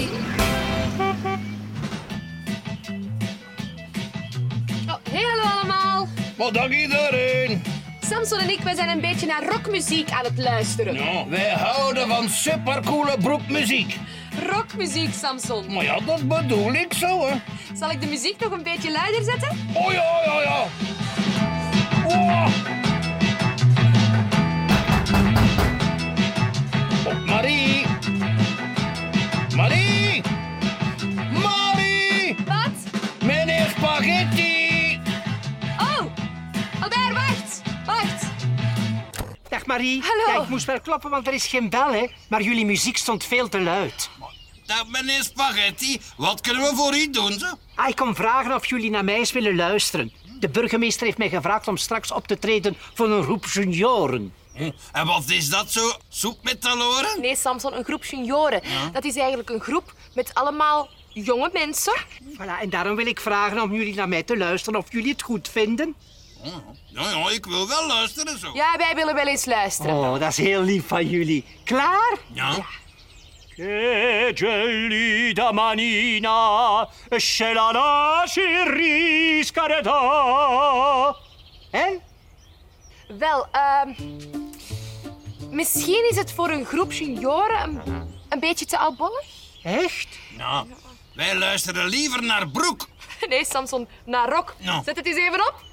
Oh, Maar dag iedereen. Samson en ik, wij zijn een beetje naar rockmuziek aan het luisteren. Ja, wij houden van supercoole broekmuziek. Rockmuziek, Samson. Maar ja, dat bedoel ik zo, hè. Zal ik de muziek nog een beetje luider zetten? Oh ja, ja, ja. Oeh. Oh, Marie. Marie. Marie. Wat? Meneer Spaghetti. Oh! Albert, wacht! Wacht! Dag Marie. Hallo. Ja, ik moest wel kloppen, want er is geen bel, hè. Maar jullie muziek stond veel te luid. Dag meneer Spaghetti, wat kunnen we voor u doen? Zo? Ah, ik kom vragen of jullie naar mij eens willen luisteren. De burgemeester heeft mij gevraagd om straks op te treden voor een groep junioren. Hm, En wat is dat zo? Soep met taloren? Nee, Samson, een groep junioren. Dat is eigenlijk een groep met allemaal jonge mensen. Voilà, en daarom wil ik vragen om jullie naar mij te luisteren of jullie het goed vinden. Ja, ja, ik wil wel luisteren zo. Ja, wij willen wel eens luisteren. Oh, dat is heel lief van jullie. Klaar? Ja. Che gelida manina se la lasci riscaldare. Hè? Wel, ehm, misschien is het voor een groep junioren een, een beetje te oudbollig? Echt? ja. Nou, Wij luisteren liever naar Broek. Nee, Samson, naar rock. Ja. Zet het eens even op.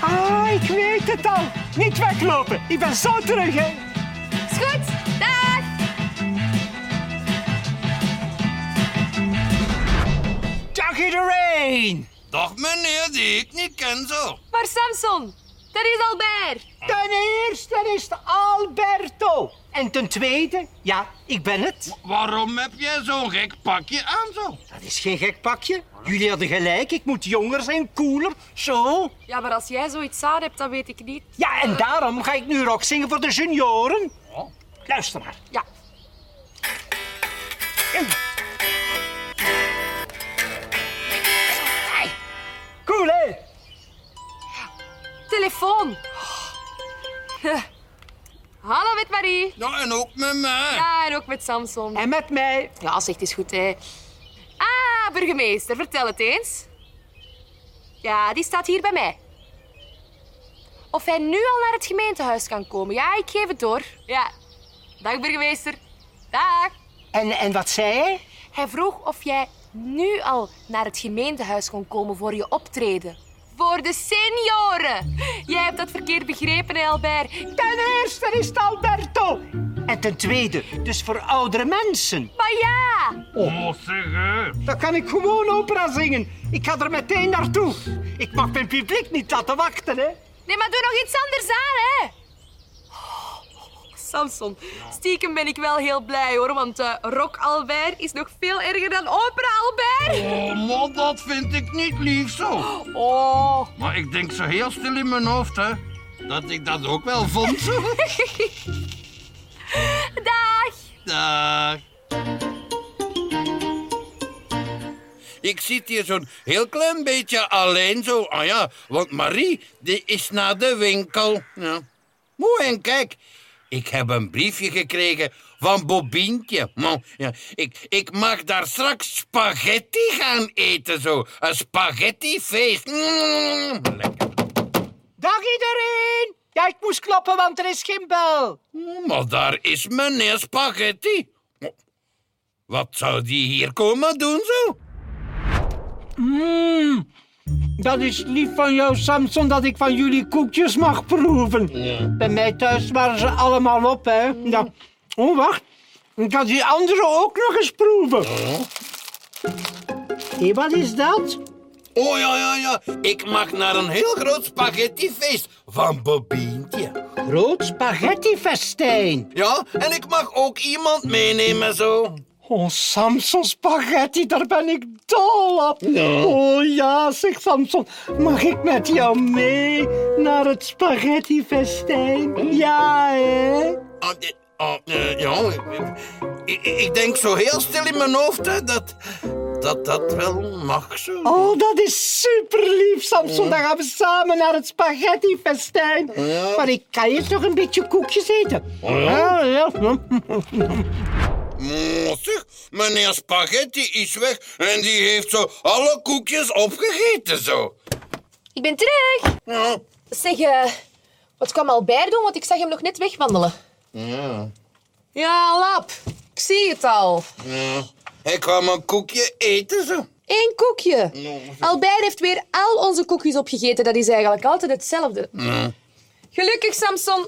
Ah, ik weet het al. Niet weglopen. Ik ben zo terug, hè. Is goed. Dag! Dag iedereen. Dag meneer, die ik niet ken zo. Maar Samson, dat is Albert. Ten eerste is het Alberto. En ten tweede, ja, ik ben het. Waarom heb jij zo'n gek pakje aan zo? Dat is geen gek pakje. Jullie hadden gelijk. Ik moet jonger zijn, cooler. Zo. Ja, maar als jij zoiets aan hebt, dan weet ik niet. Ja, en daarom ga ik nu rock zingen voor de junioren. Luister maar. Ja. Cool, hè? Telefoon. Hallo met Marie. Ja, Nou, en ook met mij. Ja, en ook met Samson. En met mij. Ja, zeg, het is goed, hè. Ah, burgemeester, vertel het eens. Ja, die staat hier bij mij. Of hij nu al naar het gemeentehuis kan komen. Ja, ik geef het door. Ja. Dag, burgemeester. Dag. En, en wat zei hij? Hij vroeg of jij nu al naar het gemeentehuis kon komen voor je optreden. Voor de senioren. Jij hebt dat verkeerd begrepen, hè, Albert. Ten eerste is het Alberto. En ten tweede, dus voor oudere mensen. Maar ja, Dan kan ik gewoon opera zingen. Ik ga er meteen naartoe. Ik mag mijn publiek niet laten wachten, hè. Nee, maar doe nog iets anders aan, hè? Samson, stiekem ben ik wel heel blij hoor, want eh, rock Albert is nog veel erger dan opera Albert. Oh, maar dat vind ik niet lief zo. Oh, Maar ik denk zo heel stil in mijn hoofd, hè. Dat ik dat ook wel vond zo. dag! Dag. Ik zit hier zo'n heel klein beetje alleen zo. Ah ja, want Marie, die is naar de winkel. Ja. Moe en kijk, ik heb een briefje gekregen van Bobientje. Man, ja, ik, ik mag daar straks spaghetti gaan eten zo. Een spaghettifeest. Mm, lekker. Dag iedereen. Ja, ik moest kloppen, want er is geen bel. Maar daar is meneer Spaghetti. Wat zou die hier komen doen zo? Dat is lief van jou, Samson, dat ik van jullie koekjes mag proeven. Bij mij thuis waren ze allemaal op, hè. Ja. Oh, wacht. Ik had die andere ook nog eens proeven. Hé, wat is dat? Oh ja, ja, ja. Ik mag naar een heel groot spaghettifeest van Bobientje. Rood spaghettifestijn. Ja, en ik mag ook iemand meenemen zo. Oh, Samson spaghetti, daar ben ik dol op. Oh ja, zeg Samson, mag ik met jou mee naar het spaghettifestijn? Ja, hè? Ah, eh, ah, eh, ja, ik, ik- ik denk zo heel stil in mijn hoofd hè, dat, dat dat wel mag zo. Oh, dat is super lief, Samson. Dan gaan we samen naar het spaghettifestijn. Oh, Maar ik kan eerst nog een beetje koekjes eten. Ah, ja. Mossig, Oh, meneer Spaghetti is weg en die heeft zo alle koekjes opgegeten zo. Ik ben terug. Ja. Zeg, eh, wat kwam Albert doen? Want ik zag hem nog net wegwandelen. Ja. Ja, lap. Ik zie het al. ja. Hij kwam een koekje eten zo. Eén koekje. Nou, zeg. Albert heeft weer al onze koekjes opgegeten. Dat is eigenlijk altijd hetzelfde. Gelukkig, Samson,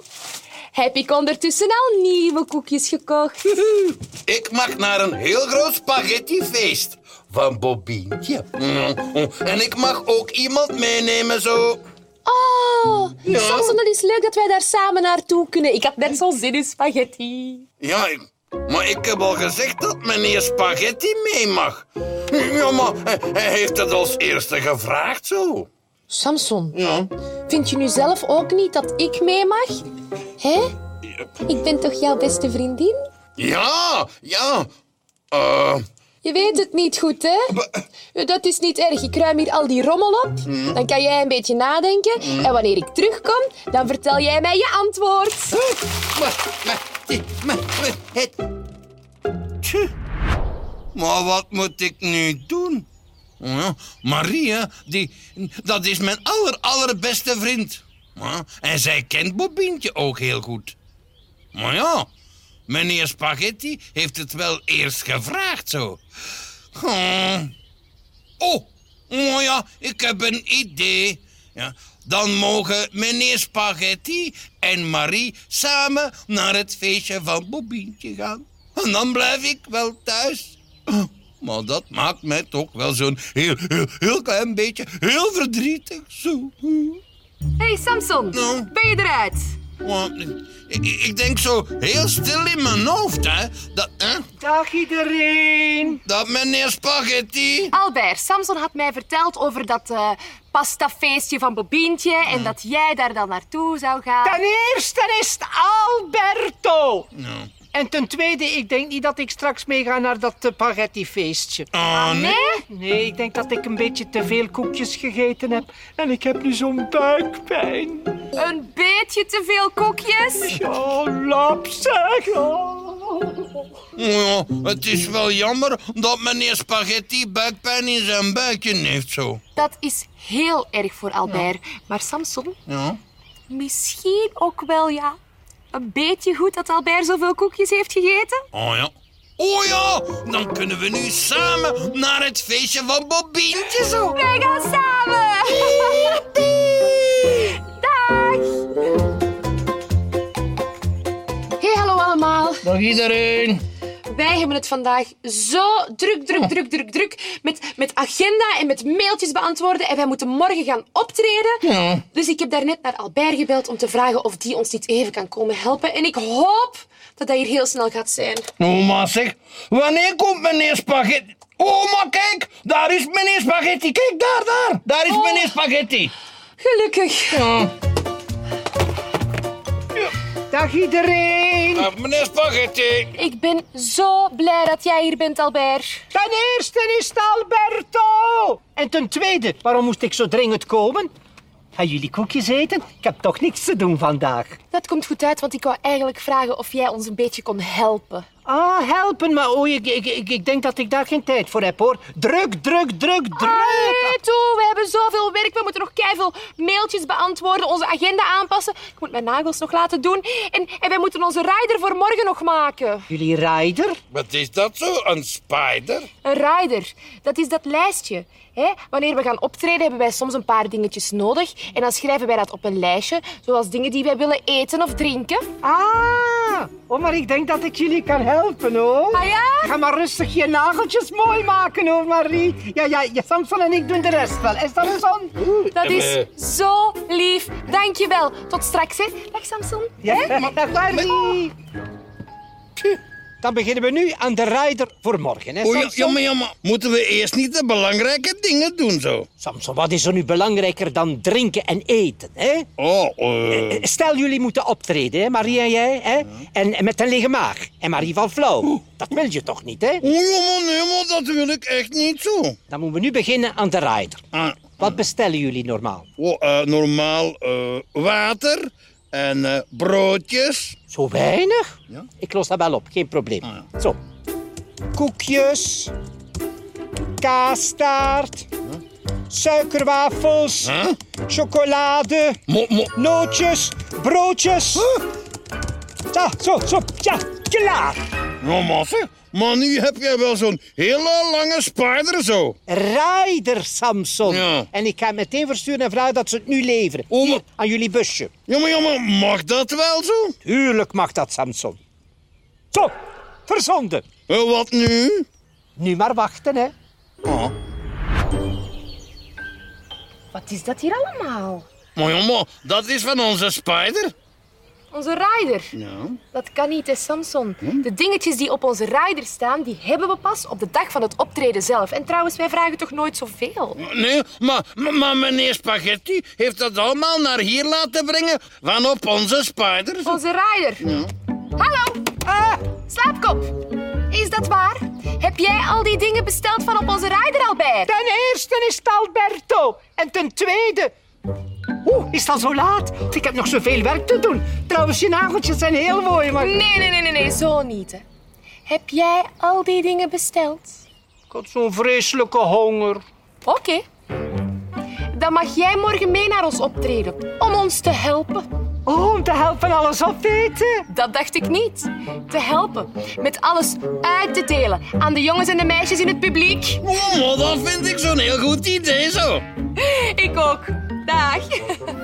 heb ik ondertussen al nieuwe koekjes gekocht. Ik mag naar een heel groot spaghettifeest van Bobientje. Mm. En ik mag ook iemand meenemen zo. Oh, Ja. Samson, dat is leuk dat wij daar samen naartoe kunnen. Ik had net zo'n zin in spaghetti. Ja, ik- maar ik heb al gezegd dat meneer Spaghetti mee mag. Ja, maar hij- hij heeft het als eerste gevraagd zo. Samson, Ja. vind je nu zelf ook niet dat ik mee mag? Hè? Ik ben toch jouw beste vriendin? Ja, ja. Eh, Je weet het niet goed, hè? Dat is niet erg. Ik ruim hier al die rommel op. Dan kan jij een beetje nadenken. En wanneer ik terugkom, dan vertel jij mij je antwoord. maar, maar, die- maar, maar, het... Tje. Maar wat moet ik nu doen? Ja, Maria, die, dat is mijn aller, allerbeste vriend. Ja, en zij kent Bobientje ook heel goed. Maar ja, meneer Spaghetti heeft het wel eerst gevraagd zo. Hmm. Oh, oh ja, ik heb een idee. Ja, dan mogen meneer Spaghetti en Marie samen naar het feestje van Bobientje gaan. En dan blijf ik wel thuis. Maar dat maakt mij toch wel zo'n heel, heel, heel klein beetje heel verdrietig. Zo. hey, Samson. Nou. Ben je eruit? Want ik, ik denk zo heel stil in mijn hoofd, hè. Dat, hè, Dag iedereen. dat meneer Spaghetti... Albert, Samson had mij verteld over dat eh, pastafeestje van Bobientje. En dat jij daar dan naartoe zou gaan. Ten eerste is het Alberto. Nou. En ten tweede, ik denk niet dat ik straks meega naar dat eh, spaghettifeestje. Ah, nee. Nee? Nee, ik denk dat ik een beetje te veel koekjes gegeten heb. En ik heb nu zo'n buikpijn. Een beetje te veel koekjes? Ja, Oh, lap zeg. Ja, het is wel jammer dat meneer Spaghetti buikpijn in zijn buikje heeft zo. Dat is heel erg voor Albert. Maar Samson, Ja. Misschien ook wel, ja. Een beetje goed dat Albert zoveel koekjes heeft gegeten. Oh ja. Oh ja, dan kunnen we nu samen naar het feestje van Bobientje zo. Wij gaan samen! Dag! Hey, hallo allemaal. Dag iedereen. Wij hebben het vandaag zo druk, druk, druk, druk, druk. Met, met agenda en met mailtjes beantwoorden. En wij moeten morgen gaan optreden. Ja. Dus ik heb daarnet naar Albert gebeld om te vragen of die ons niet even kan komen helpen. En ik hoop dat dat hier heel snel gaat zijn. Oh, maar zeg, wanneer komt meneer Spaghetti? Oh, maar kijk, daar is meneer Spaghetti. Kijk, daar, daar. Daar is Oh. meneer Spaghetti. Gelukkig. Ja. Dag iedereen. Dag, meneer Spaghetti. Ik ben zo blij dat jij hier bent, Albert. Ten eerste is het Alberto. En ten tweede, waarom moest ik zo dringend komen? Gaan jullie koekjes eten? Ik heb toch niks te doen vandaag. Dat komt goed uit, want ik wou eigenlijk vragen of jij ons een beetje kon helpen. Ah, helpen, maar oei, ik, ik, ik, ik denk dat ik daar geen tijd voor heb, hoor. Druk, druk, druk, druk. Allee, toe, we hebben zoveel werk. We moeten nog keiveel mailtjes beantwoorden, onze agenda aanpassen. Ik moet mijn nagels nog laten doen. En, en wij moeten onze rider voor morgen nog maken. Jullie rijder? Wat is dat zo, een spider? Een rider, dat is dat lijstje. hè? wanneer we gaan optreden hebben wij soms een paar dingetjes nodig. En dan schrijven wij dat op een lijstje, zoals dingen die wij willen eten of drinken. Ah, oh, maar ik denk dat ik jullie kan helpen, hoor. Ah ja? Ga maar rustig je nageltjes mooi maken, hoor, Marie. Ja, ja, ja Samson en ik doen de rest wel. Is Samson? Dat is Eh, zo lief. Dankjewel. Tot straks, hè. Dag, Samson. Ja, dag, Marie. Oh. Dan beginnen we nu aan de rijder voor morgen, hè, O, Oh ja, Samson? ja, maar, ja, maar moeten we eerst niet de belangrijke dingen doen zo? Samson, wat is er nu belangrijker dan drinken en eten, hè? Oh, eh... Eh, Stel, jullie moeten optreden, hè, Marie en jij, hè? En, en met een lege maag. En Marie van Flauw. Dat wil je toch niet, hè? Oh, ja, maar nee, maar dat wil ik echt niet zo. Dan moeten we nu beginnen aan de rider. Ah, Wat bestellen jullie normaal? oh, eh, normaal eh, water en eh, broodjes. Zo weinig? Ja. Ik los dat wel op, geen probleem. Zo, koekjes, kaastaart, suikerwafels, Huh? chocolade, Mo, mo, nootjes, broodjes. Ja, zo, zo, ja, klaar. nou, maffe. Maar nu heb jij wel zo'n hele lange spaarder zo. Rijder Samson. Ja. En ik ga hem meteen versturen en vragen dat ze het nu leveren. Oh, Hier, maar- aan jullie busje. Jongen, jongen, mag dat wel zo? Tuurlijk mag dat, Samson. Zo, verzonden. Eh, wat nu? Nu maar wachten, hè. Ah, Wat is dat hier allemaal? maar jongen, dat is van onze spaarder. Onze rider. Ja. Dat kan niet, hè, Samson. De dingetjes die op onze rider staan, die hebben we pas op de dag van het optreden zelf. En trouwens, wij vragen toch nooit zoveel? Nee, maar, maar- maar meneer Spaghetti heeft dat allemaal naar hier laten brengen van op onze spaarder. Onze rider. Hallo, Eh, Ah, slaapkop. Is dat waar? Heb jij al die dingen besteld van op onze rider, Albert? ten eerste is het Alberto. En ten tweede... Oeh, is het al zo laat? Ik heb nog zoveel werk te doen. Trouwens, je nageltjes zijn heel mooi, maar... Nee, nee, nee, nee, nee, zo niet, hè. Heb jij al die dingen besteld? Ik had zo'n vreselijke honger. Oké. Dan mag jij morgen mee naar ons optreden om ons te helpen. Oh, om te helpen alles opeten. Dat dacht ik niet. Te helpen met alles uit te delen aan de jongens en de meisjes in het publiek. Oh, maar dat vind ik zo'n heel goed idee zo. Ik ook. Dag.